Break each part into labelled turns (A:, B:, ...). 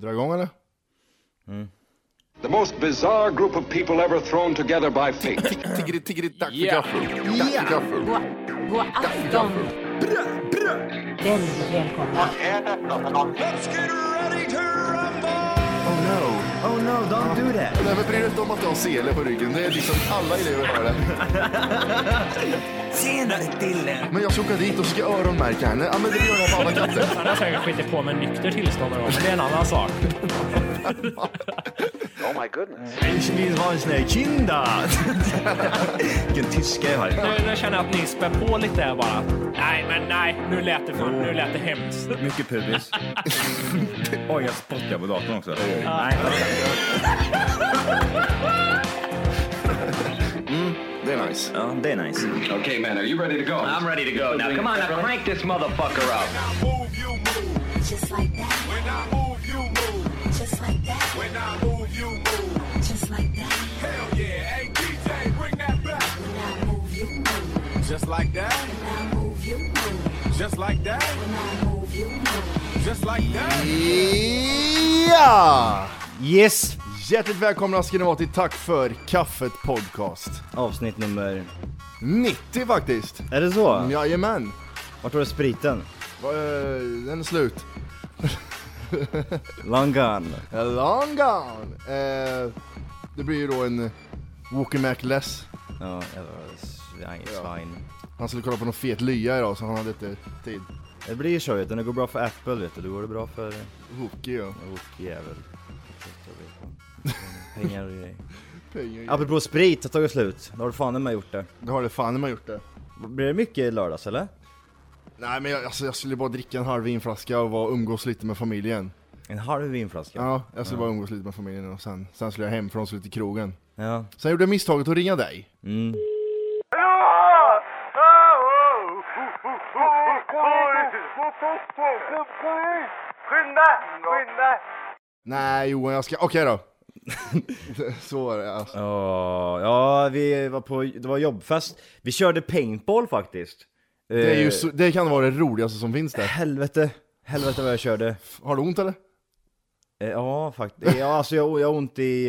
A: Dra igång eller?
B: The most bizarre group of people ever thrown together by fate.
A: Tiggeri, tiggeri, dack för
C: Yeah.
A: gaffel. Dack för gaffel.
D: God, god afton! Väldigt välkomna.
A: Oh no.
E: Oh no, don't do that.
A: Nej men bry dig inte om att du har sele på ryggen. Det är liksom alla elever har det.
E: Senare Dille.
A: Men jag ska åka dit och ska öronmärka henne. Ja men det gör jag på alla katter.
C: Han har säkert skitit på med nykter tillstånd någon gång, men det är en annan sak.
E: Ich will ha sina kinder. Vilken tyska jag har.
C: Nu, nu känner jag att ni spär på lite här bara. Nej, men nej, nu lät det, fan, nu lät det hemskt.
F: Mycket pubis. Oj, jag spottar på datorn också.
A: Det är nice.
F: Ja, det är nice.
B: okay, man, are you ready to go? I'm ready to go. Now, come on, now crank this motherfucker up.
G: Just like that. When I move, you move. Just like that. When I move, you move. Just like that. Hell yeah, hey DJ, bring that back. When I move, you move.
H: Just like that,
G: When I move, you move.
H: just like that,
G: When I move, you move.
H: just like that.
A: Ja!
E: Yes!
A: Hjärtligt välkomna ska ni vara till Tack för kaffet podcast.
E: Avsnitt nummer...
A: 90 faktiskt.
E: Är det så?
A: Jajamän.
E: Vart var det spriten?
A: Va, eh, Den är slut.
E: Langan.
A: Long gone. Eh, det blir ju då en eh, Walker Mac less.
E: Ja, jag var svin- svin.
A: Han skulle kolla på någon fet lya idag så han hade inte tid.
E: Det blir så vet du, det går bra för Apple vet du, då går det bra för
A: Hookie ja.
E: Wokjävel. Pengar och grejer.
A: Pengar. Ja,
E: Apropå sprit, har tagit slut. Då har du fan i mig gjort det.
A: Det har det fan i mig gjort det.
E: Blir det mycket i lördags eller?
A: Nej men jag, alltså, jag skulle bara dricka en halv vinflaska och vara, umgås lite med familjen.
E: En halv vinflaska?
A: Ja, jag skulle bara umgås lite med familjen och sen, sen skulle jag hem från slut till krogen.
E: Ja.
A: Sen gjorde jag misstaget att ringa dig.
E: Mm.
H: Skynda, skynda.
A: Nej Johan, jag ska... Okej då. så var det alltså.
E: Ja, ja, vi var på, det var jobbfest. Vi körde paintball faktiskt. Eh,
A: Det, är ju så, det kan vara det roligaste som finns där.
E: Helvete, helvete vad jag körde.
A: Har du ont eller?
E: Eh, Ja, faktiskt. Ja, alltså jag, jag har ont i,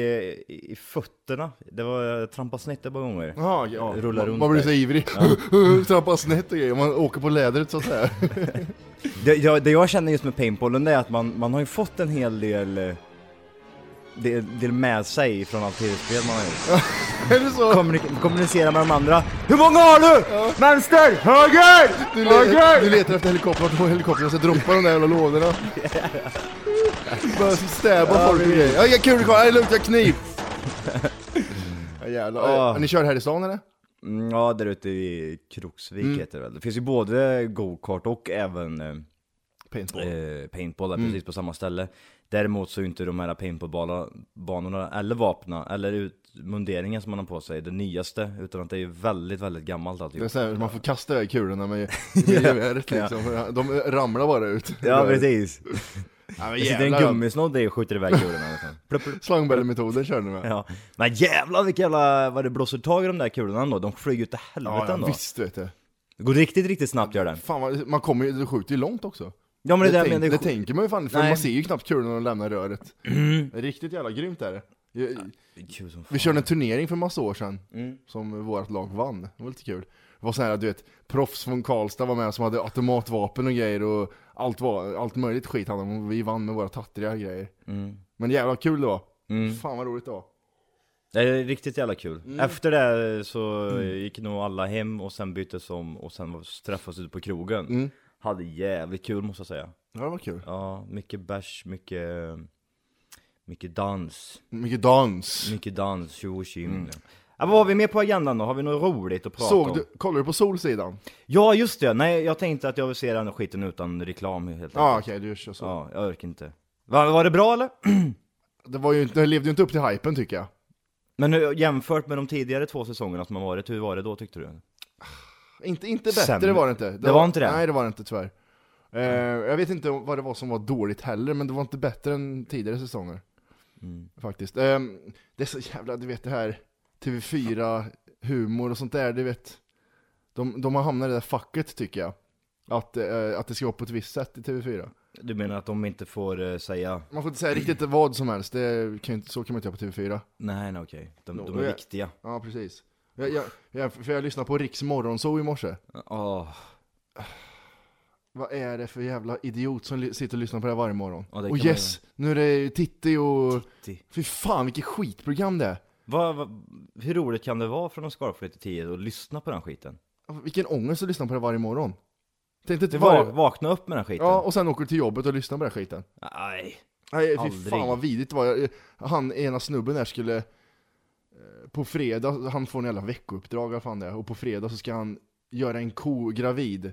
E: eh, i fötterna. Det var, jag trampade snett ett par gånger.
A: Jaha, ja.
E: Rullar runt
A: Man blir
E: där.
A: så ivrig. Trampar snett och grejer. Man åker på lädret så att säga.
E: Det, jag, det jag känner just med paintballen det är att man, man har ju fått en hel del, eh, del, del med sig från allt tv-spel man har gjort.
A: är det så?
E: Kommunik- kommunicera med de andra. Hur många har du? Vänster! Höger!
A: Du, le- du letar efter helikoptern och helikoptern ska droppa de där jävla lådorna. Börjar stäba folk och grejer. Ja, jag kul det är lugnt, jag har kniv. Ja, jävlar.
E: Ah.
A: Eh, Ni kör här i stan eller?
E: Mm, Ja, där ute i Kroksvik
A: Mm.
E: heter det väl. Det finns ju både go-kart och även eh,
A: Paintball. Mm.
E: eh, paintball där precis på samma ställe. Däremot så är ju inte de här paintballbanorna, eller vapna, eller utmunderingen som man har på sig, det nyaste. Utan att det är ju väldigt, väldigt gammalt
A: Det är
E: alltihop.
A: så här, man får kasta iväg kulorna med med geväret liksom. För De ramlar bara ut.
E: Ja, precis.
A: Ja, men
E: Det sitter
A: jävlar,
E: en gummisnodd i och skjuter iväg kulorna. liksom. Plupp, plupp.
A: Slangbällemetoden kör ni med.
E: Ja. Men jävlar vilka jävla, vad det blåser tag i de där kulorna ändå. De flyger ju till helvete
A: Ja, ja,
E: ändå.
A: visst vet du.
E: Det går riktigt, riktigt snabbt gör det.
A: Fan, vad- man kommer ju, du skjuter ju långt också.
E: Ja men det,
A: Det,
E: är det, jag
A: tänk,
E: menar,
A: det
E: det,
A: tänker man ju fan, för
E: Nej. Mm.
A: man ser ju knappt kulorna när de lämnar röret. Riktigt jävla grymt är det. Jag-
E: det är kul som fan.
A: Vi körde en turnering för en massa år sedan,
E: Mm.
A: som vårt lag vann. Det var lite kul. Det var så här, du vet, proffs från Karlstad var med som hade automatvapen och grejer och allt, var, allt möjligt skit hade de. och Vi vann med våra tattriga grejer.
E: Mm.
A: Men jävla kul det var. Fan vad roligt det var.
E: Det är riktigt jävla kul.
A: Mm.
E: Efter det så gick nog alla hem och sen byttes om och sen var- träffades ute på krogen.
A: Mm.
E: Hade jävligt kul måste jag säga.
A: Ja, det var kul.
E: Ja, mycket bärs, mycket, mycket dans.
A: Mycket dans.
E: Mycket dans, tjo och tjim. Ja, vad har vi mer på agendan då? Har vi något roligt att prata om?
A: Mm. Såg du, kollade du på Solsidan?
E: Ja just det, nej jag tänkte att jag vill se den här skiten utan reklam helt enkelt.
A: Ja ah, okej, du kör så.
E: Ja, jag orkar inte. Va, var det bra eller?
A: Det, var ju, inte- det levde ju inte upp till hypen tycker jag.
E: Men hur- jämfört med de tidigare två säsongerna som har varit, hur var det då tyckte du?
A: Inte, inte bättre
E: Sämre.
A: var det inte. Det,
E: var inte det?
A: Nej det var det inte tyvärr. Eh, jag vet inte vad det var som var dåligt heller, men det var inte bättre än tidigare säsonger.
E: Mm.
A: Faktiskt. Eh, det är så jävla, du vet det här TV4, humor och sånt där, du vet. De, de har hamnat i det där facket tycker jag. Att, eh, att det ska vara på ett visst sätt i TV4.
E: Du menar att de inte får eh, säga
A: Man får inte säga riktigt vad som helst, det kan ju inte, så kan man inte göra på TV4.
E: nej, nej okej, de,
A: Nå,
E: de
A: då
E: är
A: är-
E: viktiga.
A: Ja, precis. Jag, jag, jag, för jag lyssnade på Riks morgonzoo i morse.
E: Åh,
A: Vad är det för jävla idiot som li- sitter och lyssnar på det här varje morgon?
E: Ja, det kan
A: och
E: man
A: yes, nu är det Titti och...
E: Titti.
A: Fy fan vilket skitprogram det är!
E: vad, vad, hur roligt kan det vara från en skarpflytt till 10 att lyssna på den skiten?
A: Vilken ångest att lyssna på det varje morgon. Tänkte
E: Det
A: inte
E: var,
A: var...
E: vakna upp med den skiten.
A: Ja, och sen åker du till jobbet och lyssnar på den här skiten.
E: Nej.
A: Nej, fy
E: Aldrig.
A: fan vad vidigt det var. Jag- Han ena snubben där skulle... eh, På fredag, han får en jävla veckouppdrag, vad fan det är. Och på fredag så ska han göra en ko gravid.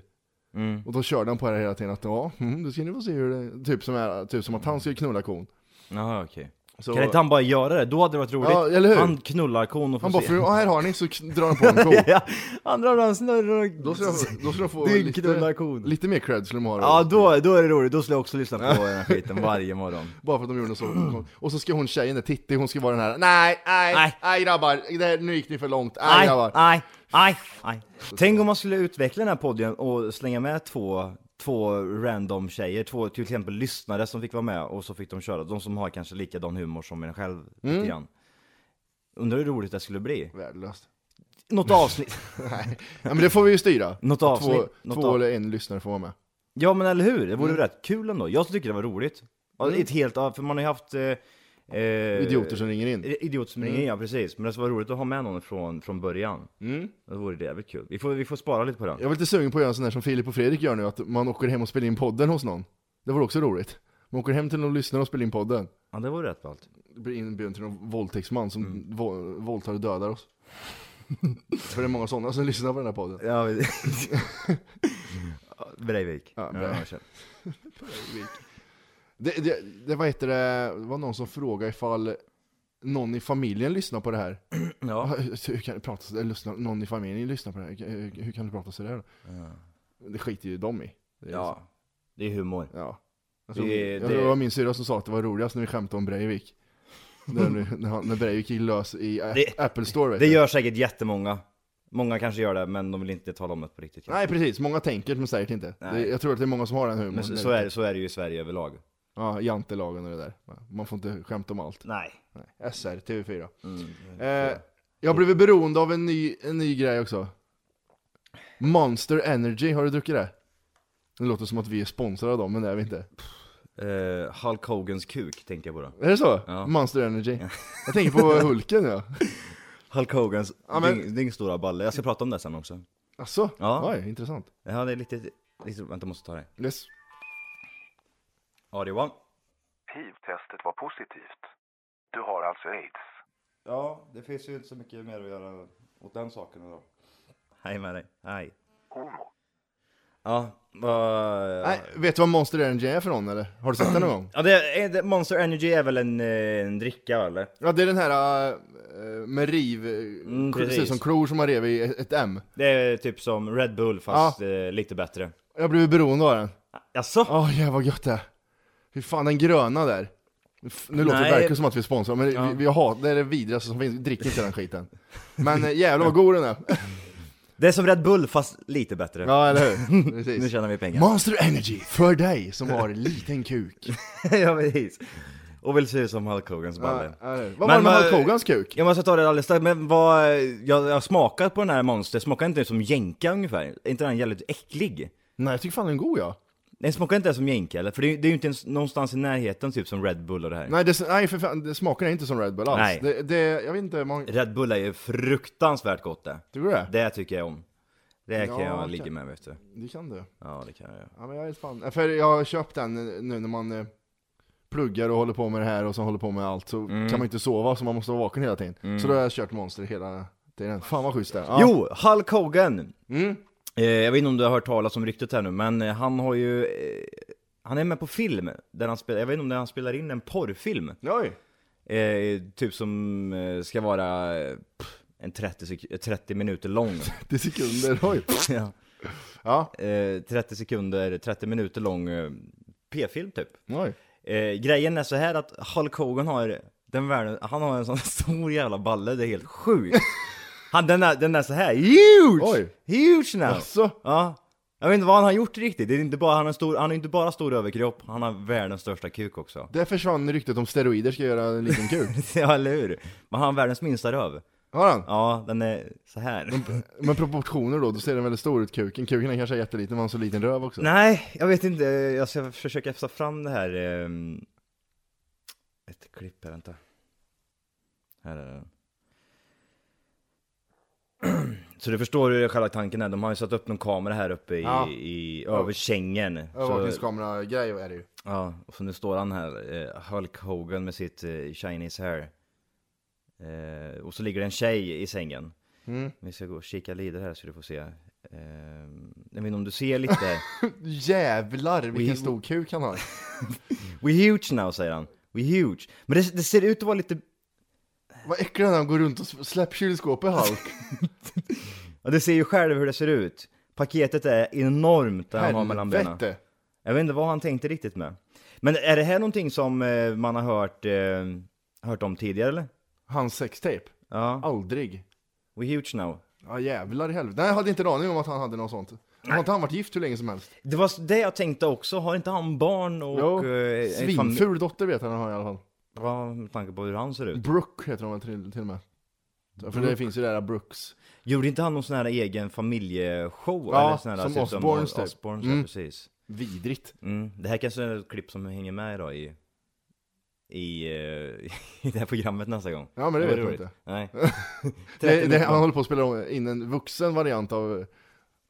E: Mm.
A: Och då körde han på det här hela tiden att ja, mm, då ska ni få se hur det... Typ som, är, typ som att han skulle knulla kon.
E: Jaha okej.
A: Så-
E: Kan inte han bara göra det? Då hade det varit roligt.
A: Ja, eller hur?
E: Han knullar kon och får
A: Han bara,
E: se.
A: för, ja, här har ni, så kn- drar han på en ko.
E: ja, han drar fram snurror och...
A: Då skulle de, då skulle de få
E: Det är en
A: lite,
E: knullarkon.
A: lite mer cred skulle de ha då.
E: Ja då, då är det roligt, då skulle jag också lyssna på den här skiten varje morgon.
A: Bara för att de gjorde något så. Och så ska hon tjejen där, Titti, hon ska vara den här Nej, nej,
E: Nej.
A: nej grabbar, det här, nu gick ni för långt, nej
E: Aj,
A: grabbar.
E: aj, aj, aj. Tänk om man skulle utveckla den här podden och slänga med två, två random tjejer, två till exempel lyssnare som fick vara med och så fick de köra. De som har kanske likadan humor som en själv
A: Mm.
E: lite grann. Undrar hur roligt det skulle bli.
A: Värdelöst.
E: Något avsnitt.
A: Nej. Ja, men det får vi ju styra.
E: Något
A: Att
E: avsnitt,
A: Två,
E: något
A: två
E: av-
A: eller en lyssnare får vara med.
E: Ja men eller hur, det vore
A: Mm.
E: rätt kul ändå. Jag tycker det var roligt. Ja, Ett helt, ja, för man har ju haft... Eh, eh,
A: Idioter som Mm. ringer in.
E: Idiot som ringer in, ja precis. Men det skulle vara roligt att ha med någon från, från början. Mm. Det vore det jävligt kul. Vi får, vi får spara lite på den.
A: Jag var lite sugen på att göra en sån här som Filip och Fredrik gör nu, att man åker hem och spelar in podden hos någon. Det vore också roligt. Man åker hem till någon lyssnare och spelar in podden.
E: Ja det vore rätt ballt.
A: Blir inbjuden till någon våldtäktsman som
E: Mm.
A: vå- våldtar och dödar oss. För det är många sådana som lyssnar på den här podden.
E: Ja, vi... Breivik.
A: Ja,
E: Ja,
A: Breivik.
E: jag känner.
A: Det, det, det, vad heter det, det var någon som frågade ifall någon i familjen lyssnar på det här. Ah,
E: ja.
A: Hur hur kan du prata så, eller lyssna, någon i familjen lyssnar på det här, hur, hur kan du prata sådär då? Det skiter ju de i. Det är
E: ja, det är humor.
A: så. ja. Jag tror,
E: Det-
A: jag
E: det-
A: tror det var min syrra som sa att det var roligast när vi skämtade om Breivik. när, när, han- när Breivik gick lös i Ä-
E: Det-
A: Apple Store vet
E: Det
A: du.
E: gör säkert jättemånga. Många kanske gör det, men de vill inte tala om det på riktigt. kanske.
A: Nej precis, många tänker men säkert inte. Det,
E: Nej.
A: jag tror att det är många som har den humorn.
E: Men så, så, är, det- så är det ju i Sverige överlag.
A: Ja, jantelagen och det där. Man får inte skämta om allt.
E: Nej. Mm,
A: SR, TV4. eh, jag har blivit beroende av en ny, en ny grej också. Monster Energy, har du druckit det? Det låter som att vi är sponsrade av dem, men det är vi inte.
E: Eh, Hulk Hogans kuk tänkte jag på då.
A: Är det så?
E: Ja.
A: Monster Energy. Jag tänker på Hulken ja.
E: Hulk Hogans
A: men-
E: dyng, dyngstora balle. Jag ska prata om det sen också.
A: Asså?
E: Ja.
A: Oj, intressant.
E: Ja, det är lite... lite vänta, jag måste ta det.
A: Yes.
E: Ja, det var.
I: HIV-testet var positivt. Du har alltså aids.
E: Ja, det finns ju inte så mycket mer att göra åt den saken idag. Hej med dig. Hej.
I: Homo.
E: Ja, vad...
A: Nej, vet du vad Monster Energy är för någon eller? Har du sett den någon gång?
E: Ja, det är, det- Monster Energy är väl en, eh, en dricka eller?
A: Ja, det är den här eh, med riv...
E: Mm,
A: Mm,
E: precis.
A: precis, som klor som man rev i ett M.
E: Det är typ som Red Bull fast eh, lite bättre.
A: Jag har blivit beroende av den.
E: Jaså?
A: Åh jävlar vad gött det är. Hur fan den gröna där. F- Nu låter det
E: Nej.
A: verkligen som att vi sponsrar, men vi, vi har, det är det vidrigaste som finns, Vi dricker inte den skiten. Men eh, jävlar vad god den är.
E: Det är som Red Bull fast lite bättre.
A: Ja eller hur?
E: Nu
A: Precis.
E: tjänar vi pengar.
A: Monster Energy, för dig som har liten kuk.
E: ja, precis. Och vill se ut som Hulk Hogans
A: Ja,
E: balle.
A: eller hur? Vad var
E: Men
A: det med
E: vad-
A: Hulk Hogans kuk?
E: Jag måste ta det alldeles strax, men vad, jag, jag har smakat på den här Monster, smakar inte den som jenka ungefär? Är inte den jävligt äcklig?
A: Nej jag tycker fan den är god ja.
E: Den smakar inte som jenka eller? För det, är- det är ju inte ens någonstans i närheten typ som Red Bull och det här.
A: Nej, det, nej för fan, det smakar inte som Red Bull alls.
E: Nej.
A: Det, det, jag vet inte, man,
E: Red Bull är ju fruktansvärt gott det.
A: tycker du det?
E: Det tycker jag om. Det kan
A: Ja,
E: jag
A: okej.
E: ligga med vet du.
A: Det kan du.
E: Ja det kan jag göra.
A: Ja men jag är fan, Ja, för jag har köpt den eh, nu när man eh, pluggar och håller på med det här och så håller på med allt så
E: Mm.
A: kan man inte sova så man måste vara vaken hela tiden. Så då har jag kört Monster hela tiden. Fan vad schysst det är. Ja.
E: Jo, Hulk Hogan! Eh, jag vet inte om du har hört talas om ryktet här nu, men eh, han har ju... Eh, han är med på film, där han spelar, jag vet inte om det är han spelar in en porrfilm.
A: Oj!
E: Eh, typ som eh, ska vara eh, pff, en 30, sek- 30 minuter lång.
A: 30 sekunder, oj!
E: ja.
A: Ja,
E: eh, 30 sekunder, 30 minuter lång eh, p-film typ.
A: oj.
E: Eh, grejen är så här att Hulk Hogan har, den världen, han har en sån stor jävla balle, det är helt sjukt. Han, den, är, den är så här huge!
A: Oj.
E: Huge now!
A: Asså?
E: Ja. Jag vet inte vad han har gjort riktigt, det är inte bara, han har stor, han har inte bara stor överkropp, han har världens största kuk också.
A: Där försvann ryktet om steroider ska göra en liten kul.
E: ja, eller hur? Men han har världens minsta röv.
A: Har han?
E: Ja, den är så här.
A: Men proportioner då, då ser den väldigt stor ut kuken. Kuken är kanske jätteliten, men han har så liten röv också.
E: Nej, jag vet inte, jag ska försöka ta fram det här. ehm, Ett klipp här, vänta. Här är den. Så du förstår hur själva tanken är, de har ju satt upp någon kamera här uppe i,
A: Ja.
E: i över sängen. Så-
A: Övervakningskamera-grej är det ju.
E: Ja, och så nu står han här, eh, Hulk Hogan med sitt eh, Chinese hair. Eh, och så ligger det en tjej i sängen.
A: Mm.
E: Vi ska gå och kika lite här så du får se. Eh, jag vet inte om du ser lite.
A: Jävlar vilken stor kuk han har.
E: We're huge now, säger han. We're huge. Men det, det ser ut att vara lite...
A: Vad äcklig han är, han går runt och s- släpp kylskåpet Hulk.
E: Ja, du ser ju själv hur det ser ut. Paketet är enormt där han har mellan benen.
A: Helvete.
E: Jag vet inte vad han tänkte riktigt med. Men är det här någonting som eh, man har hört, eh, hört om tidigare eller?
A: Hans sextape.
E: Ja.
A: Aldrig.
E: We're huge now.
A: Ja jävlar i helvete. Nej jag hade inte en aning om att han hade något sånt. Har inte han varit gift hur länge som helst?
E: Det var det jag tänkte också, har inte han barn och... eh, en familj?
A: Svinful dotter vet jag han har i alla fall.
E: Ja, med tanke på hur han ser ut.
A: Brooke heter de väl till, till och med? Ja, För det
E: Brooke.
A: finns ju det där Brooks.
E: Gjorde inte han någon sån här egen familjeshow?
A: Ja,
E: eller sån här,
A: som
E: typ
A: Osbournes typ.
E: Osbournes,
A: Mm.
E: ja, precis.
A: Vidrigt.
E: Mm. Det här kanske är ett klipp som hänger med idag i, i, eh, i det här programmet nästa gång.
A: Ja, men det
E: var
A: vet jag
E: roligt.
A: inte.
E: Nej.
A: Det,
E: 30
A: det,
E: minuter.
A: han håller på att spela om- in en vuxen variant av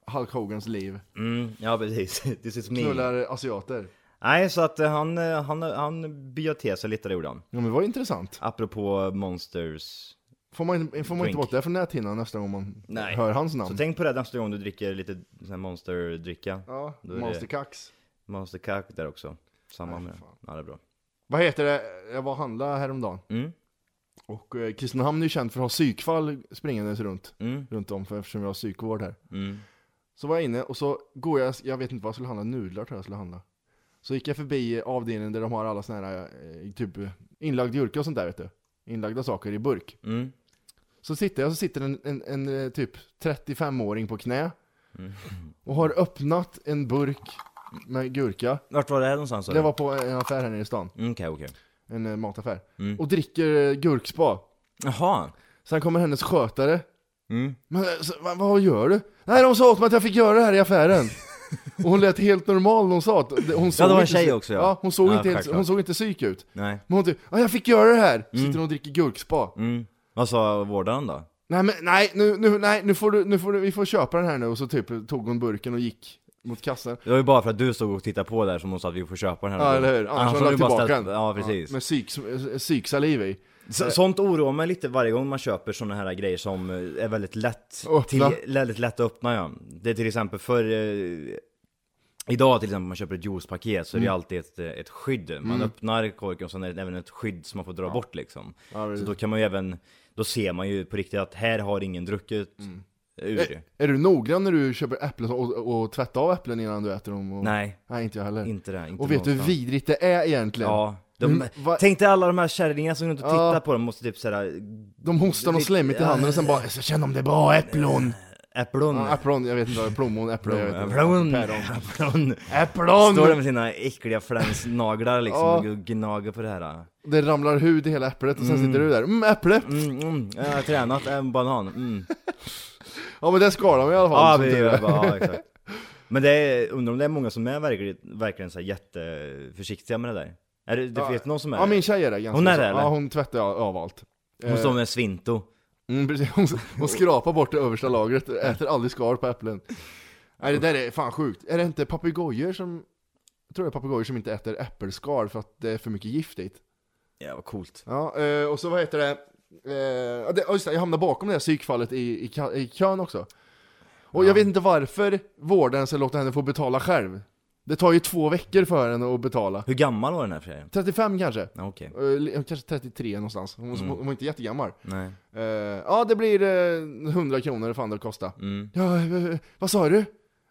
A: eh, Hulk Hogans liv.
E: Mm, ja, precis. This is me.
A: Knullar asiater.
E: Nej, så att eh, han, eh, han, han bjöd till sig lite, det gjorde han.
A: Ja men det var intressant.
E: Apropå Monsters.
A: Får man, inte- får man
E: Drink.
A: inte bort det från näthinnan nästa gång man
E: Nej.
A: hör hans namn?
E: Så tänk på det nästa gång du dricker lite sån här Monster-dricka.
A: ja,
E: Då är det-
A: monsterkax.
E: Monsterkack där också. Samma med det. Ja, det är bra.
A: Vad heter det? Jag var och handlade häromdagen.
E: Mm.
A: Och eh, Kristinehamn är ju känt för att ha psykfall springandes runt,
E: Mm.
A: runt om för, eftersom vi har psykvård här.
E: Mm.
A: Så var jag inne och så går jag, jag vet inte vad jag skulle handla, nudlar tror jag jag skulle handla. Så gick jag förbi avdelningen där de har alla såna här, eh, typ eh, inlagd gurka och sånt där vet du. Inlagda saker i burk.
E: Mm.
A: Så sitter jag, så sitter en, en, en eh, typ 35-åring på knä
E: Mm.
A: och har öppnat en burk med gurka.
E: Vart var det här någonstans? sa
A: Det
E: du?
A: var på en affär här nere i stan,
E: Mm, Okej, okej.
A: en eh, mataffär.
E: Mm.
A: Och dricker eh, gurkspa.
E: Jaha.
A: Sen kommer hennes skötare.
E: Mm.
A: Men eh, så, vad, vad gör du? Nej, de sa åt mig att jag fick göra det här i affären. och hon lät helt normal när hon sa att det- hon såg
E: det var en
A: inte
E: tjej
A: psy-
E: också, ja.
A: ja hon, såg
E: Ja,
A: inte helt,
E: självklart.
A: hon såg inte psyk ut.
E: Nej.
A: Men hon typ, ja jag fick göra det här. Sitter och dricker gurkspa.
E: Mm. Vad sa vårdaren då?
A: Nej men nej, nu, nu, nej nu, får du, nu får du, vi får köpa den här nu och så typ tog hon burken och gick mot kassan
E: Det var ju bara för att du stod och tittade på där som hon sa att vi får köpa den här.
A: Ja eller hur, annars hade
E: du
A: hon
E: bara
A: tillbaka
E: ställt-
A: den
E: Ja, precis.
A: Med psyk, eh, psyksaliv i
E: Så, sånt oroar mig lite varje gång man köper såna här grejer som eh, är väldigt lätt,
A: Att öppna.
E: väldigt lätt att öppna. Ja. Det är till exempel för... Eh, idag till exempel om man köper ett juicepaket
A: Mm.
E: så är det alltid ett, eh, ett skydd. Man öppnar korken och sen är det även ett skydd som man får dra bort liksom. så då kan man ju även... Då ser man ju på riktigt att här har ingen druckit
A: Mm.
E: ur det.
A: Är du noggrann när du köper äpplen och, och, och tvättar av äpplen innan du äter dem? Och...
E: Nej,
A: Nej inte jag heller
E: inte det. Inte
A: Och vet du hur
E: någonstans.
A: vidrigt det är egentligen?
E: Ja.
A: Mm,
E: De,
A: vad-
E: Tänk dig alla de här kärringarna som går runt och
A: Ja.
E: tittar på dem måste typ såhär...
A: De hostar något slemmigt i handen och sen bara 'Jag ska känna om det är bra äpplon'
E: Äpplon.
A: ja, Äpplon, jag vet inte vad det är, plommon, äpple, jag vet inte
E: Äpplon.
A: Päron.
E: Äpplon. Står där
A: Äpplon!
E: med sina äckliga flänsnaglar liksom
A: Ja.
E: och gnager på det här.
A: Det ramlar hud i hela äpplet och sen sitter du där 'Mm, äpple'
E: Mm, mm, jag har tränat en banan. Mm.
A: Ja men det skalar man i alla fall
E: Ja,
A: som
E: vi,
A: tur är.
E: ja, exakt. Men det är, undrar om det är många som är verkligen, verkligen så här jätteförsiktiga med det där? Är det, det finns någon som är
A: Ja min tjej är det ganska
E: Hon är
A: så.
E: det, eller?
A: Ja hon tvättar av av allt
E: Hon
A: eh,
E: står med svinto.
A: Mm, precis. Hon, hon skrapar bort det översta lagret, äter aldrig skal på äpplen. Nej det där är fan sjukt. Är det inte papegojor som... Jag tror det är papegojor som inte äter äppelskal för att det är för mycket giftigt.
E: Ja, vad coolt.
A: Ja, eh, och så vad heter det? Eh, ja, det ja, just det, jag hamnade bakom det här psykfallet i, i, ka- i kön också. Och jag vet inte varför vården ska låta henne få betala själv. Det tar ju två veckor för henne att betala.
E: Hur gammal var den här tjejen?
A: 35 kanske?
E: Ja, Okej,
A: Eh, li- kanske 33 någonstans. Hon, hon var inte jättegammal.
E: nej.
A: Eh, ja, det blir eh, 100 kronor fan det kostar.
E: Mm,
A: Ja, eh, vad sa du?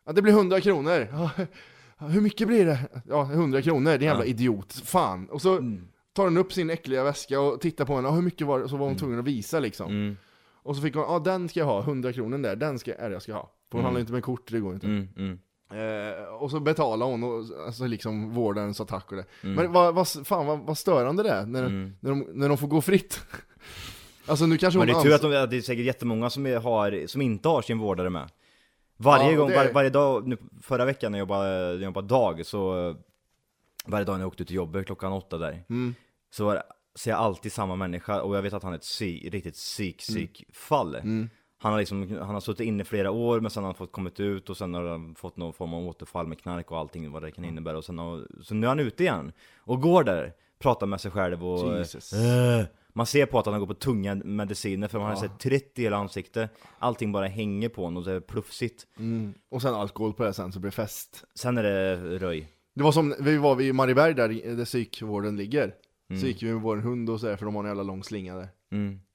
A: Ja, det blir 100 kronor. Ja, eh, hur mycket blir det? Ja, 100 kronor, din jävla idiot. Fan. Och så
E: Mm.
A: tar hon upp sin äckliga väska och tittar på henne. Ja, hur mycket var det? Så var hon
E: Mm.
A: tvungen att visa liksom. Och så fick hon, ja den ska jag ha, 100 kronor där, den ska, är det jag ska ha. För hon handlar inte med kort, det går inte.
E: Mm, mm.
A: Eh, och så betalar hon, och, alltså liksom vårdarens attack och det.
E: Mm.
A: Men vad, vad, fan vad, vad störande det är när, när, de, när de får gå fritt. alltså nu kanske
E: Men
A: hon
E: det är tur
A: ans-
E: att de, att det är säkert jättemånga som, är, har, som inte har sin vårdare med. Varje
A: Ja,
E: gång,
A: det-
E: var, varje dag, nu, förra veckan när jag jobbade, när jag jobbade dag, så eh, varje dag när jag åkte till jobbet klockan åtta där,
A: Mm.
E: så var, det- ser jag alltid samma människa och jag vet att han är ett psy, riktigt psyk, psyk fall.
A: Mm.
E: Han har, liksom, han har suttit inne flera år men sen har han fått kommit ut och sen har han fått någon form av återfall med knark och allting vad det
A: Mm.
E: kan innebära och sen har, så nu är han ute igen och går där, pratar med sig själv och eh,
A: Jesus.
E: Eh, Man ser på att han går på tunga mediciner för man har sett 30 i hela ansiktet Allting bara hänger på honom och det är plufsigt
A: Och sen alkohol på det sen så blir det fest.
E: Sen är det röj
A: Det var som, vi var vid Marieberg där, där psykvården ligger.
E: Mm.
A: Så gick vi med vår hund och så här, för de har en jävla lång slinga där.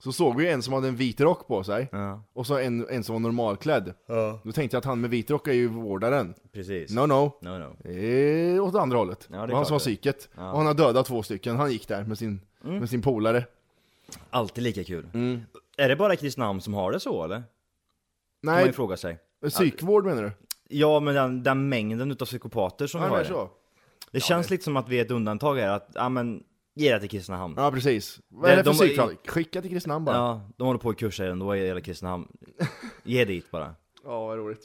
A: Så såg vi en som hade en vit rock på sig,
E: Ja.
A: och så en, en som var normalklädd. Då tänkte jag att han med vit rock är ju vårdaren.
E: Precis
A: No no.
E: No, no.
A: Eh, åt andra hållet.
E: det är
A: det var han
E: klart
A: som var
E: det. Mm.
A: psyket. Och han har dödat två stycken, han gick där med sin, med sin polare.
E: Alltid lika kul Mm. Är det bara Kristinehamn som har det så eller? Kan man ju
A: Nej,
E: fråga sig
A: psykvård menar du?
E: Ja men den, den mängden utav psykopater som
A: Ja,
E: vi har
A: men
E: det.
A: så.
E: det känns lite som att vi är ett undantag här att, ja men Ge det till Kristinehamn
A: Ja precis. Vad är det
E: Det-
A: för
E: de-
A: psykfall? Skicka till Kristinehamn bara. Ja,
E: Ja, de håller på och kursar ändå i hela Kristinehamn Ge dit bara
A: vad roligt.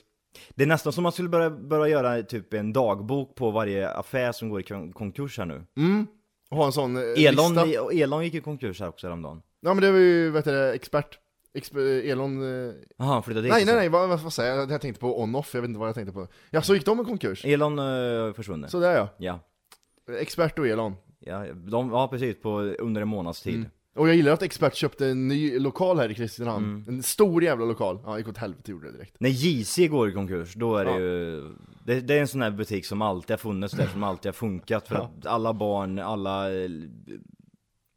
E: Det är nästan som man skulle börja, börja göra typ en dagbok på varje affär som går i kon- konkurs här nu.
A: Och ha en sån eh,
E: Elon,
A: lista.
E: och Elon gick i konkurs här också häromdagen.
A: Ja men det var ju, vet du det, expert. Exper, Elon... Eh...
E: Jaha, han flyttade dit.
A: Nej
E: och så.
A: nej nej, vad, vad, vad säger jag? Jag tänkte på on-off, jag vet inte vad jag tänkte på. Ja, så gick de i konkurs?
E: Elon uh, försvunnit.
A: Sådär ja.
E: Ja.
A: Expert och Elon.
E: Ja, de, ja, precis. På, under en månads tid.
A: Och jag gillar att Expert köpte en ny lokal här i Kristinehamn.
E: Mm.
A: En stor jävla lokal. Ja, gick åt helvete gjorde det direkt.
E: När JC går i konkurs, då är det
A: Ja.
E: ju... Det, det är en sån här butik som alltid har funnits där, som alltid har funkat. För att alla barn, alla eh,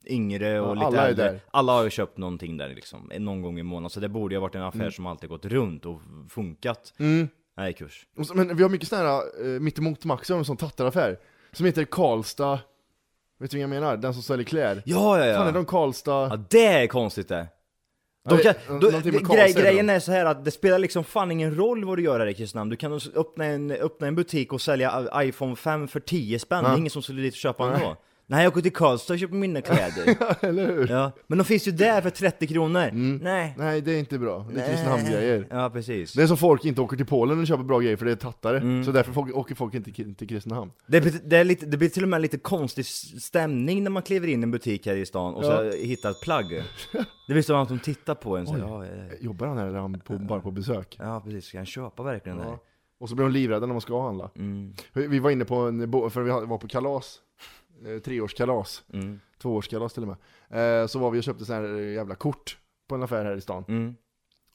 E: yngre och
A: Ja,
E: lite
A: alla är
E: äldre,
A: där.
E: alla har ju köpt någonting där liksom, någon gång i månaden. Så det borde ju ha varit en
A: Mm.
E: affär som alltid gått runt och funkat. Nej, kurs.
A: Och så, men vi har mycket sådana här, eh, mittemot Maxi har en sån tattaraffär. Som heter Karlstad... Vet du vad jag menar? Den som säljer kläder.
E: Ja, ja,
A: Fan är
E: ja.
A: de Karlstad...
E: Ja, det är konstigt det.
A: Ja,
E: De
A: det-
E: kan, då,
A: någonting med
E: grej,
A: Karlstad
E: grejen
A: då.
E: är så här att det spelar liksom fan ingen roll vad du gör här i Kristinehamn. Du kan s- öppna en, öppna en butik och sälja i- iPhone 5 för 10 spänn. Det är ingen som skulle dit och köpa den då. Nej, jag går till Karlstad och köper mina kläder.
A: Eller hur?
E: ja. Men de finns ju där för 30 kronor. Nej.
A: Nej, det är inte bra. Det är Kristinehamn-grejer.
E: Ja, precis.
A: Det är som folk inte åker till Polen och köper bra grejer för det är tattare. Så därför folk, åker folk inte ki- till Kristinehamn.
E: Det, blir- det, är lite, det blir till och med lite konstig s- stämning när man kliver in i en butik här i stan och så hittar ett plagg. Det blir som att de tittar på en så här, ja, ja, ja.
A: Jobbar han här eller är han på, bara på besök?
E: ja, precis. Ska han köpa verkligen det här?
A: Och så blir de livrädda när man ska handla.
E: Mm.
A: Vi var inne på en, bo- för vi var på kalas, eh, treårskalas, tvåårskalas till och med. Eh, Så var vi och köpte sådana här eh, jävla kort på en affär här i
E: Mm.
A: stan.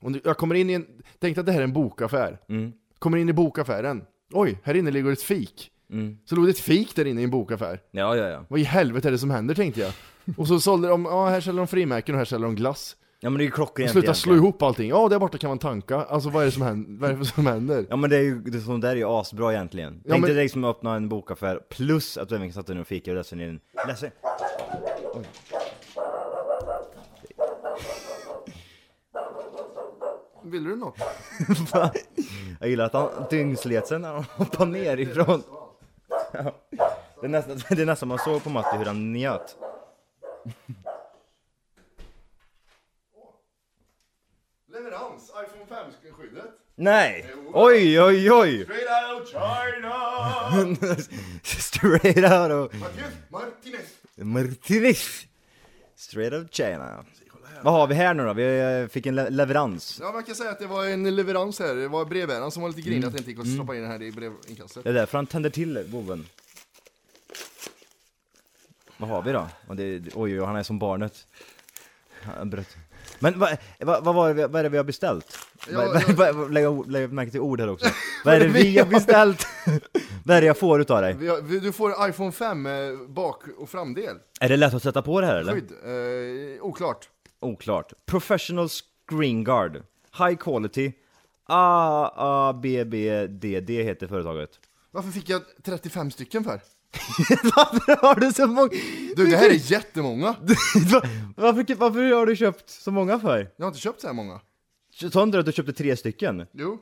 A: Och nu- jag kommer in i en, tänkte att det här är en bokaffär. Kommer in i bokaffären. Oj, här inne ligger ett fik. Så låg det ett fik där inne i en bokaffär.
E: Ja, ja, ja.
A: Vad i helvete är det som händer tänkte jag. Och så sålde de, ja här säljer de frimärken och här säljer de glass.
E: Ja men det är ju klockrent
A: Sluta
E: egentligen.
A: slå ihop allting. Ja, där borta kan man tanka. Alltså vad är det som händer? Vad är det som händer?
E: Ja men det är ju, det, sånt där är ju asbra egentligen. Tänk
A: men-
E: dig liksom att öppna en bokaffär plus att du även kan sätta dig ner och fika och läsa ner en... Läsa... Oj.
A: Vill du något?
E: Va? Jag gillar att han dyngslet sig när han hoppar ner ifrån. Ja. Det är nästan, det är nästan man såg på Matti hur han njöt.
A: Leverans, iPhone 5-skyddet.
E: Nej! Oj, oj, oj!
A: Straight out China!
E: Straight out of...
A: Martinez!
E: Martinis! Straight out China. Vad har vi här nu då? Vi eh, fick en le- leverans.
A: Ja, man kan säga att det var en leverans här. Det var brevbäraren som var lite grinig att det inte gick att stoppa in det här i brevinkastet.
E: Det är därför han tänder till boven. Vad har vi då? Och det, oj, oj, oj, han är som barnet. Han bröt. Men vad, vad, vad, var det, vi- vad är det vi har beställt? Vad- vad- vad- vad- Lägg ord- lägg märke till ord här också. Vad är det vi har beställt? vad är det jag får utav dig?
A: Vi har, vi, du får iPhone 5 eh, bak och framdel.
E: Är det lätt att sätta på det här eller?
A: Skydd. Eh, oklart.
E: Oklart. Professional Screen Guard. High Quality. AABBDD heter företaget.
A: Varför fick jag 35 stycken för?
E: Varför har du så många?
A: Du, det här är jättemånga.
E: varför, varför har du köpt så många för?
A: Jag har inte köpt så här många.
E: Sa inte du att du köpte tre stycken?
A: Jo.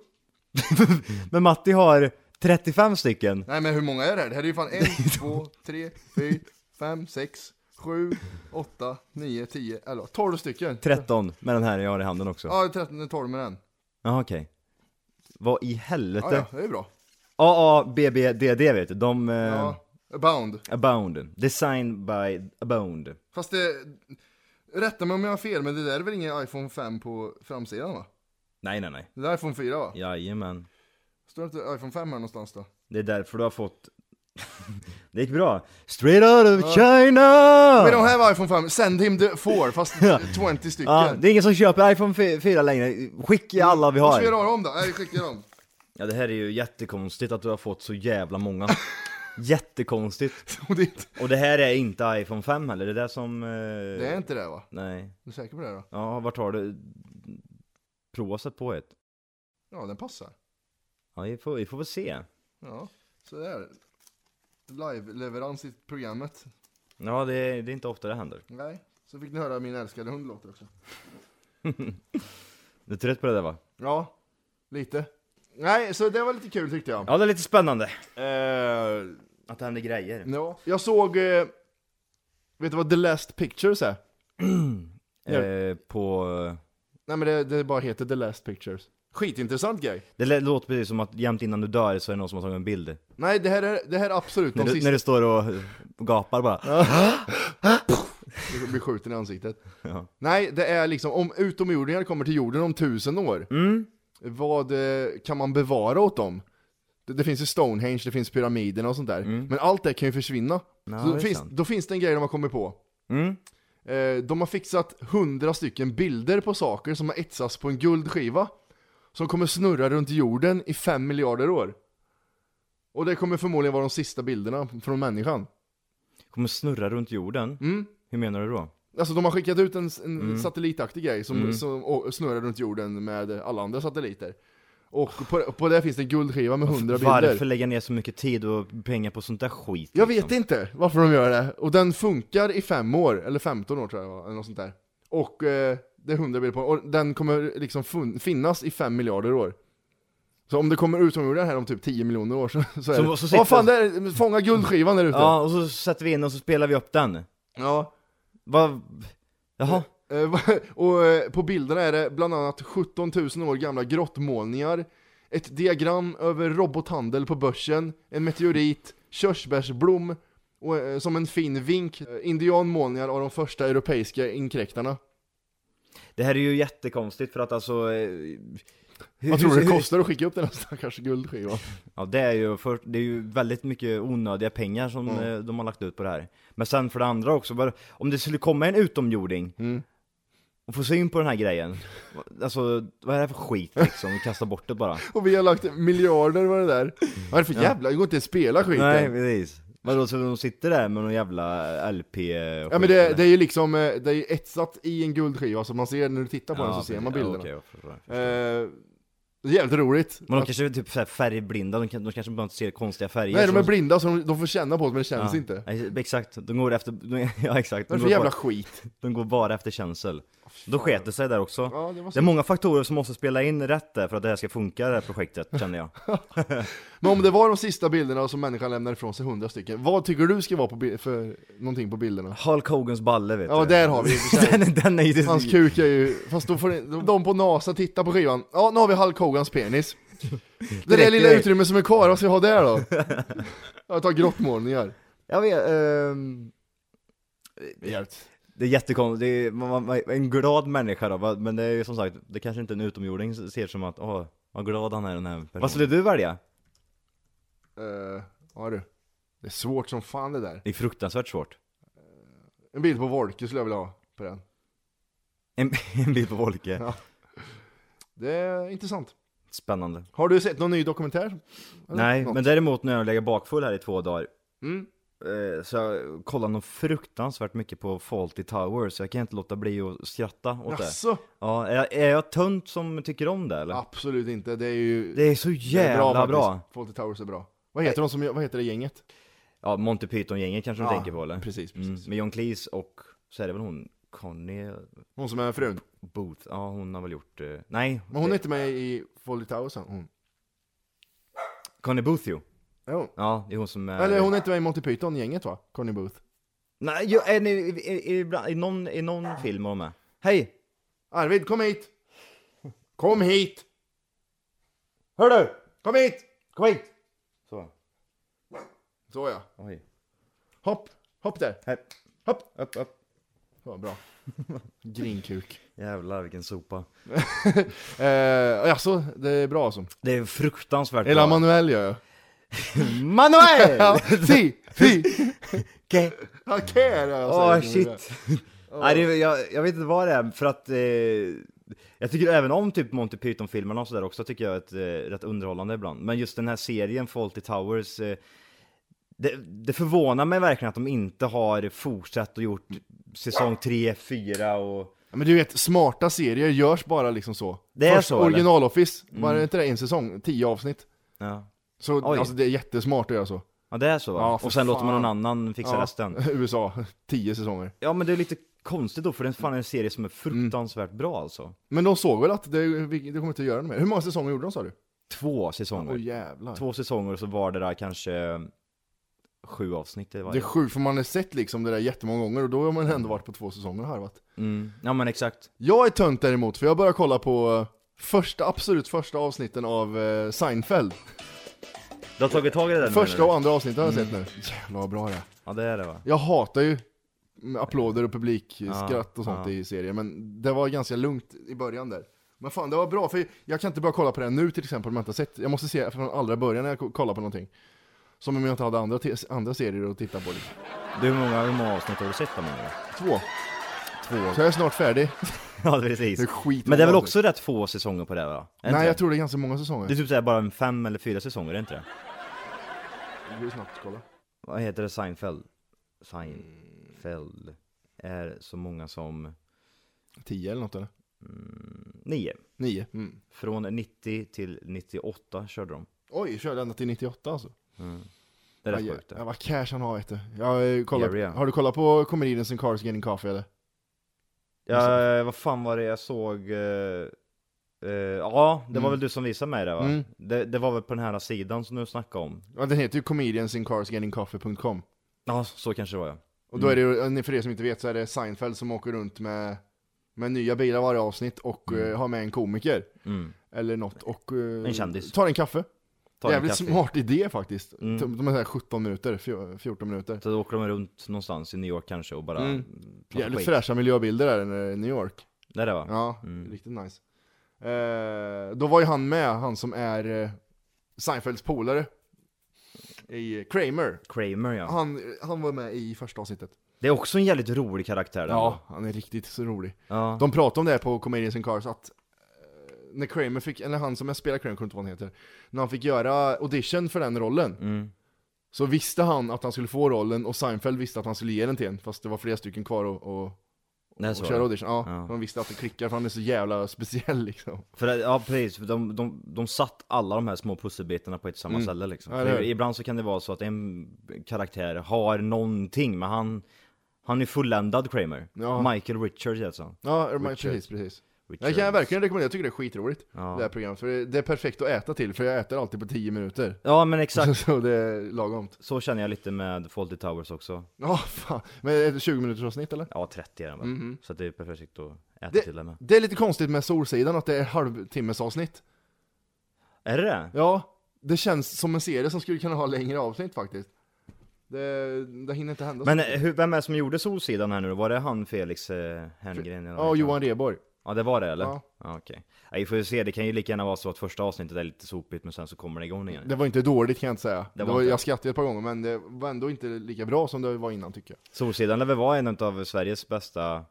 E: Men Matti har 35 stycken!
A: Nej men hur många är det här? Det här är ju fan 1, 2, 3, 4, 5, 6, 7, 8, 9, 10, 11, 12 stycken!
E: 13 med den här jag har i handen också.
A: Ja, 13, 12 med den.
E: Jaha okej. Vad i
A: Ja,
E: helvete?
A: ja, det är bra.
E: AABBDD vet du, de... Eh,
A: Ja. Abound.
E: Abound. Designed by Abound.
A: Fast det... Rätta mig om jag har fel, men det där är väl ingen iPhone 5 på framsidan va?
E: Nej nej nej.
A: Det där är iPhone 4 va?
E: Jajamän.
A: Står det inte iPhone 5 här någonstans då?
E: Det är därför du har fått... det gick bra. Straight out of China!
A: We don't have iPhone 5, send him the 4, fast 20 stycken.
E: Ja, det är ingen som köper iPhone 4 längre. Skicka alla vi
A: Mm, Vad ska jag
E: har.
A: göra om då? Nej, vi skickar dem.
E: Ja, det här är ju jättekonstigt att du har fått så jävla många. jättekonstigt.
A: Och det, är inte-
E: Och det här är inte iPhone 5 heller, det är det som... Eh...
A: det är inte det va?
E: Nej.
A: Du är säker på det då?
E: Ja, vart har du proset på ett?
A: Ja, den passar.
E: Ja, vi får, vi får väl se.
A: Ja, så där. Live-leverans i programmet.
E: Ja, det, det är inte ofta det händer.
A: Nej. Så fick ni höra min älskade hund låter också.
E: Du är trött på det där va?
A: Ja, lite. Nej, så det var lite kul tyckte jag.
E: Ja, det är lite spännande.
A: Eh,
E: Att det händer grejer.
A: ja. Jag såg... Eh, vet du vad The Last Pictures är?
E: Eh, på...
A: Nej men det, det bara heter The Last Pictures. Skitintressant grej.
E: Det lä- låter precis som att jämt innan du dör så är det någon som har tagit en bild.
A: Nej, det här är, det här är absolut
E: När
A: de
E: du,
A: sista...
E: när du står och gapar bara.
A: Du blir skjuten i ansiktet.
E: Ja.
A: Nej, det är liksom om utomjordingar kommer till jorden om tusen år.
E: Mm.
A: Vad eh, kan man bevara åt dem? Det, det finns ju Stonehenge, det finns pyramiderna och sånt där. Men allt det kan ju försvinna.
E: Mm. Ja,
A: Så
E: det
A: då,
E: är
A: finns,
E: sant.
A: då finns det en grej de har kommit på.
E: Mm.
A: Eh, de har fixat hundra stycken bilder på saker som har etsats på en guldskiva. Som kommer snurra runt jorden i fem miljarder år. Och det kommer förmodligen vara de sista bilderna från människan.
E: Kommer snurra runt jorden.
A: Mm.
E: Hur menar du då?
A: Alltså de har skickat ut en, en satellitaktig grej som, som å- snurrar runt jorden med alla andra satelliter. Och på, på det finns det en guldskiva med 100
E: Varför liksom?
A: bilder.
E: lägga ner så mycket tid och pengar på sånt där skit?
A: Jag
E: liksom?
A: vet inte varför de gör det. Och den funkar i fem år, eller 15 år tror jag det var, eller något sånt där. Och eh, det är 100 bilder på den. Och den kommer liksom fun- finnas i fem miljarder år. Så om det kommer utomjordingar här om typ 10 miljoner år så, så är
E: Så-
A: det...
E: så
A: Så
E: sitter-
A: Vad fan, där, fånga guldskivan där ute!
E: Ja, och så sätter vi in och så spelar vi upp den.
A: ja.
E: Vad... Jaha?
A: Eh, Och eh, på bilderna är det bland annat 17 000 år gamla grottmålningar, ett diagram över robothandel på börsen, en meteorit, körsbärsblom, och eh, som en fin vink, eh, indianmålningar av de första europeiska inkräktarna.
E: Det här är ju jättekonstigt för att alltså... eh, hur-
A: Vad tror
E: hur-
A: du det
E: hur-
A: kostar att skicka upp den här stackars guldskivan?
E: Ja, det är ju, för, det är ju väldigt mycket onödiga pengar som
A: Mm.
E: eh, de har lagt ut på det här. Men sen för det andra också, bara, om det skulle komma en utomjording
A: Mm.
E: och få syn på den här grejen. Alltså, vad är det här för skit liksom? Kasta bort det bara.
A: Och vi har lagt miljarder på det där. Vad är det för jävla, det går inte att spela skiten.
E: Nej, precis. Vadå, så de sitter där med någon jävla LP
A: Ja men det, det är ju liksom, eh, det är ju etsat i en guldskiva, så man ser när du tittar på den så ser man bilderna. Eh, det är jävligt roligt.
E: men de kanske är typ så här färgblinda, de, kan, de kanske bara inte ser konstiga färger.
A: Nej,
E: så
A: de är blinda så de, de får känna på det men det känns
E: Ja.
A: inte. Vad
E: Nej, exakt, de går efter, de, ja exakt.
A: är
E: De
A: det
E: går,
A: för jävla
E: bara,
A: skit?
E: de går bara efter känsel. Då sket det sig där också.
A: Ja, det var
E: Det är
A: synd.
E: många faktorer som måste spela in rätt där för att det här ska funka, det här projektet, känner jag.
A: Men om det var de sista bilderna som människan lämnar ifrån sig, hundra stycken, vad tycker du ska vara på bi- för någonting på bilderna?
E: Hulk Hogans balle vet
A: Ja,
E: du.
A: där har vi
E: den, den är ju...
A: Hans kuk är ju, fast då får ni- de, de på NASA titta på skivan, ja nu har vi Hulk Hogans penis. Det där
E: räcker
A: lilla
E: det.
A: utrymmet som är kvar, vad ska jag ha där då? Jag tar grottmålningar.
E: Jag vet, ehm,
A: Jävligt.
E: det är jättekonstigt, det är, man, man, man, en glad människa då, va? men det är ju som sagt, det kanske inte en utomjording ser som att, åh, vad glad han är den här personen. Vad skulle du välja?
A: Eh, ja du. Det är svårt som fan det där.
E: Det är fruktansvärt svårt.
A: En bild på Wolke skulle jag vilja ha på den.
E: En, en bild på Volke.
A: Ja. Det är intressant.
E: Spännande.
A: Har du sett någon ny dokumentär? Eller
E: Nej,
A: något?
E: men däremot när jag lägger bakfull här i två dagar
A: Mm.
E: eh, så jag kollar nog fruktansvärt mycket på Faulty Towers, jag kan inte låta bli att skratta åt det.
A: Jaså?
E: Ja, är jag, är jag tönt som tycker om det eller?
A: Absolut inte, det är ju...
E: Det är så
A: det är
E: jävla bra!
A: faktiskt. Fawlty Towers är bra. Vad heter, de som, vad heter det gänget?
E: Ja, Monty Python-gänget kanske du tänker på eller?
A: Precis,
E: Mm,
A: precis.
E: med John Cleese och, så är det väl hon, Connie
A: Hon som är frun.
E: Booth? Ja, hon har väl gjort, eh, nej.
A: Men hon
E: det-
A: är inte med i Fawlty Towers, hon.
E: Connie Booth ju.
A: Jo.
E: Ja, det är hon som... är-
A: Eller hon är inte med i Monty Python-gänget va? Connie Booth?
E: Nej, ju, är ni, i, i, ibland- i, någon, i någon film är hon med. Hej!
A: Arvid, kom hit! Kom hit! Hör du! Kom hit!
E: Kom hit! Så.
A: Så ja.
E: Oj.
A: Hopp! Hopp där!
E: Här.
A: Hopp!
E: Upp, upp.
A: Så, bra. Grinkuk.
E: Jävlar vilken sopa.
A: Eh, jaså, det är bra alltså?
E: Det är fruktansvärt
A: Eller
E: bra.
A: Manuel gör jag.
E: Manuel!
A: Ja, si! Si!
E: Okej.
A: Okej är det jag
E: Åh
A: säger.
E: shit. Nej, det, är- jag, jag vet inte vad det är, för att eh, jag tycker även om typ Monty Python-filmerna och sådär också tycker jag är ett, eh, rätt underhållande ibland. Men just den här serien Fawlty Towers, eh, det, det förvånar mig verkligen att de inte har fortsatt och gjort säsong 3, 4 och...
A: Ja, Men du vet, smarta serier görs bara liksom så.
E: Det är
A: Först
E: så, eller?
A: original Office, var det inte det en säsong? Tio avsnitt.
E: Ja,
A: Så
E: Oj.
A: alltså, det är jättesmart att göra så.
E: ja det är så va?
A: Ja, för
E: och sen låter man
A: fan.
E: någon annan fixa
A: Ja.
E: resten.
A: USA, tio säsonger.
E: Ja men det är lite konstigt då, för det är fan en serie som är fruktansvärt bra alltså.
A: Men de såg väl att det, vi- det kommer inte att göra något mer. Hur många säsonger gjorde de sa du?
E: Två säsonger.
A: Åh jävlar.
E: Två säsonger och så var det där kanske sju avsnitt i varje.
A: Det är sjukt, för man har sett liksom det där jättemånga gånger och då har man ändå varit på två säsonger och harvat.
E: Mm. Ja men exakt.
A: Jag är tönt däremot, för jag börjar kolla på eh, första, absolut första avsnitten av eh, Seinfeld.
E: Du har tagit tag i det där
A: Första
E: nu,
A: och
E: eller?
A: andra avsnittet har jag
E: Mm.
A: sett nu. Jävlar vad bra det är.
E: Ja det är det va?
A: Jag hatar ju mm, applåder och publikskratt och sånt i serier, men det var ganska lugnt i början där. Men fan, det var bra, för jag kan inte börja kolla på det nu till exempel om jag inte har sett. Jag måste se från allra början när jag ko- kollar på någonting. Som om jag inte hade andra, te- andra serier att titta på. Liksom.
E: Du, hur många, hur många avsnitt har du sett av mig?
A: Två. Två. Så jag är snart färdig.
E: Ja precis.
A: Det är skit-
E: men det är väl också rätt få säsonger på det va? Är inte
A: Nej,
E: det?
A: jag tror det är ganska många säsonger.
E: Det är typ såhär bara en fem eller fyra säsonger, är det inte det?
A: Det går ju snabbt att kolla.
E: Vad heter det? Seinfeld? Seinfeld är så många som
A: Tio eller något eller?
E: nio.
A: Nio. Mm.
E: Från 90 till 98 körde de.
A: Oj, körde ända till 98 alltså.
E: Det är rätt
A: Aj,
E: sjukt det.
A: ja, vad cash han har vet du. Jag har ju kollat,
E: Jerry, ja.
A: Har du kollat på Comedians and Cars Getting Coffee eller?
E: Ja, eh, vad fan var det jag såg? eh, eh, ja, det var väl du som visade mig det va?
A: Mm.
E: Det, det var väl på den här sidan som du snackade om?
A: Ja, den heter ju comediansincarsgettingcoffee.com
E: Ja, så kanske det var ja.
A: Och då är det ju, eh, för er som inte vet så är det Seinfeld som åker runt med, med nya bilar varje avsnitt och eh, har med en komiker. Eller något och... eh,
E: Mm. En kändis.
A: Tar en kaffe.
E: Ta en
A: Jävligt
E: kaffe. Mm.
A: smart idé faktiskt. De de är såhär 17 minuter, fjo- 14 minuter.
E: Så då åker de runt någonstans i New York kanske och bara mm.
A: Jävligt fräscha miljöbilder där i New York.
E: Det är det va?
A: Ja, riktigt nice. Eh, då var ju han med, han som är eh, Seinfelds polare. I Kramer.
E: Kramer ja.
A: Han, han var med i första avsnittet.
E: Det är också en jävligt rolig karaktär där.
A: Ja, han är riktigt så rolig.
E: Ja.
A: De pratade om det här på Comedians in Cars, att eh, när Kramer fick, eller han som jag spelar Kramer, jag kommer inte ihåg vad han heter, när han fick göra audition för den rollen,
E: Mm.
A: så visste han att han skulle få rollen och Seinfeld visste att han skulle ge den till en, fast det var flera stycken kvar och, och,
E: Nej, så
A: och
E: var
A: köra
E: det.
A: audition. Ja,
E: Ja.
A: De visste att det klickar för han är så jävla speciell liksom.
E: För det, ja precis, För de, de, de satt alla de här små pusselbitarna på ett samma ställe liksom.
A: Mm. Ja,
E: För
A: det är det.
E: ibland så kan det vara så att en karaktär har någonting, men han, han är fulländad Kramer.
A: Ja.
E: Michael Richards alltså.
A: Ja, Richard. precis, precis. Jag kan verkligen rekommendera, jag tycker det är skitroligt,
E: Ja.
A: det här programmet. För det, det är perfekt att äta till, för jag äter alltid på 10 minuter.
E: Ja men exakt,
A: Så det är lagomt.
E: så känner jag lite med Fawlty Towers också.
A: Ja, fan. Men är det 20 minuters avsnitt eller?
E: Ja 30 är den väl, så att det är perfekt att äta
A: Mhm.
E: till den
A: Det,
E: med.
A: det är lite konstigt med Solsidan att det är halvtimmes avsnitt.
E: Är det det?
A: Ja, det känns som en serie som skulle kunna ha längre avsnitt faktiskt. Det, det hinner inte hända
E: Men
A: så
E: eh, hur, vem är det som gjorde Solsidan här nu då? Var det han Felix eh, Herngren? eller vad
A: Ja,
E: heter
A: Johan
E: han?
A: Rheborg.
E: Ja det var det eller?
A: Ja.
E: Ja, okej. Ja, vi får ju se, det kan ju lika gärna vara så att första avsnittet är lite sopigt men sen så kommer det igång igen.
A: Det var inte dåligt kan jag inte säga. Det
E: Det
A: var
E: var inte.
A: Jag skrattade ett par gånger, men det var ändå inte lika bra som det var innan tycker jag.
E: Solsidan lär väl vara en av Sveriges bästa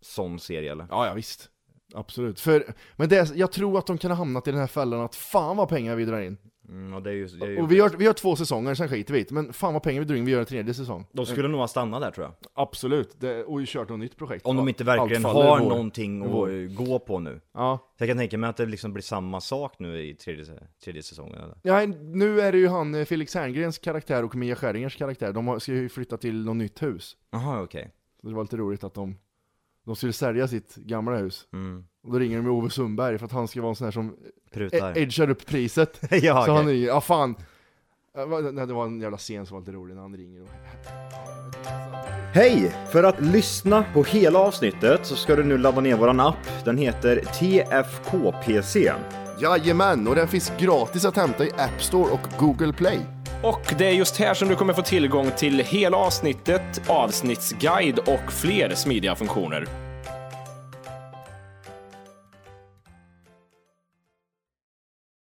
E: sån serie eller?
A: Ja, ja visst. Absolut. För, men det, är- jag tror att de kan ha hamnat i den här fällan att fan vad pengar vi drar in.
E: Mm, och det är ju, det är ju...
A: Och vi gör, vi gör två säsonger, sen skiter vi i det. Men fan vad pengar vi drar in, vi gör en tredje säsong.
E: De skulle nog ha stannat där tror jag.
A: Absolut. Det, och kört något nytt projekt.
E: Om de inte verkligen
A: Allt faller
E: har
A: i vår.
E: någonting att
A: Vår.
E: gå på nu.
A: Ja.
E: Så jag kan tänka mig att det liksom blir samma sak nu i tredje, tredje säsongen eller?
A: Nej, nu är det ju han eh, Felix Herngrens karaktär och Mia Skäringers karaktär. De har- ska ju flytta till något nytt hus.
E: Jaha okej.
A: Så det var lite roligt att de, de skulle sälja sitt gamla hus.
E: Mm.
A: Och då ringer de med Ove Sundberg för att han ska vara en sån här som
E: Prutar.
A: e- edgar upp priset.
E: ja,
A: Så
E: okej.
A: han ringer, ja fan, Ja, vad- nej, Det var en jävla scen som var lite rolig när han ringer och...
E: Hej! För att lyssna på hela avsnittet så ska du nu ladda ner våran app. Den heter TFKPC.
A: Jajamän, och den finns gratis att hämta i App Store och Google Play.
C: Och det är just här som du kommer få tillgång till hela avsnittet, avsnittsguide och fler smidiga funktioner.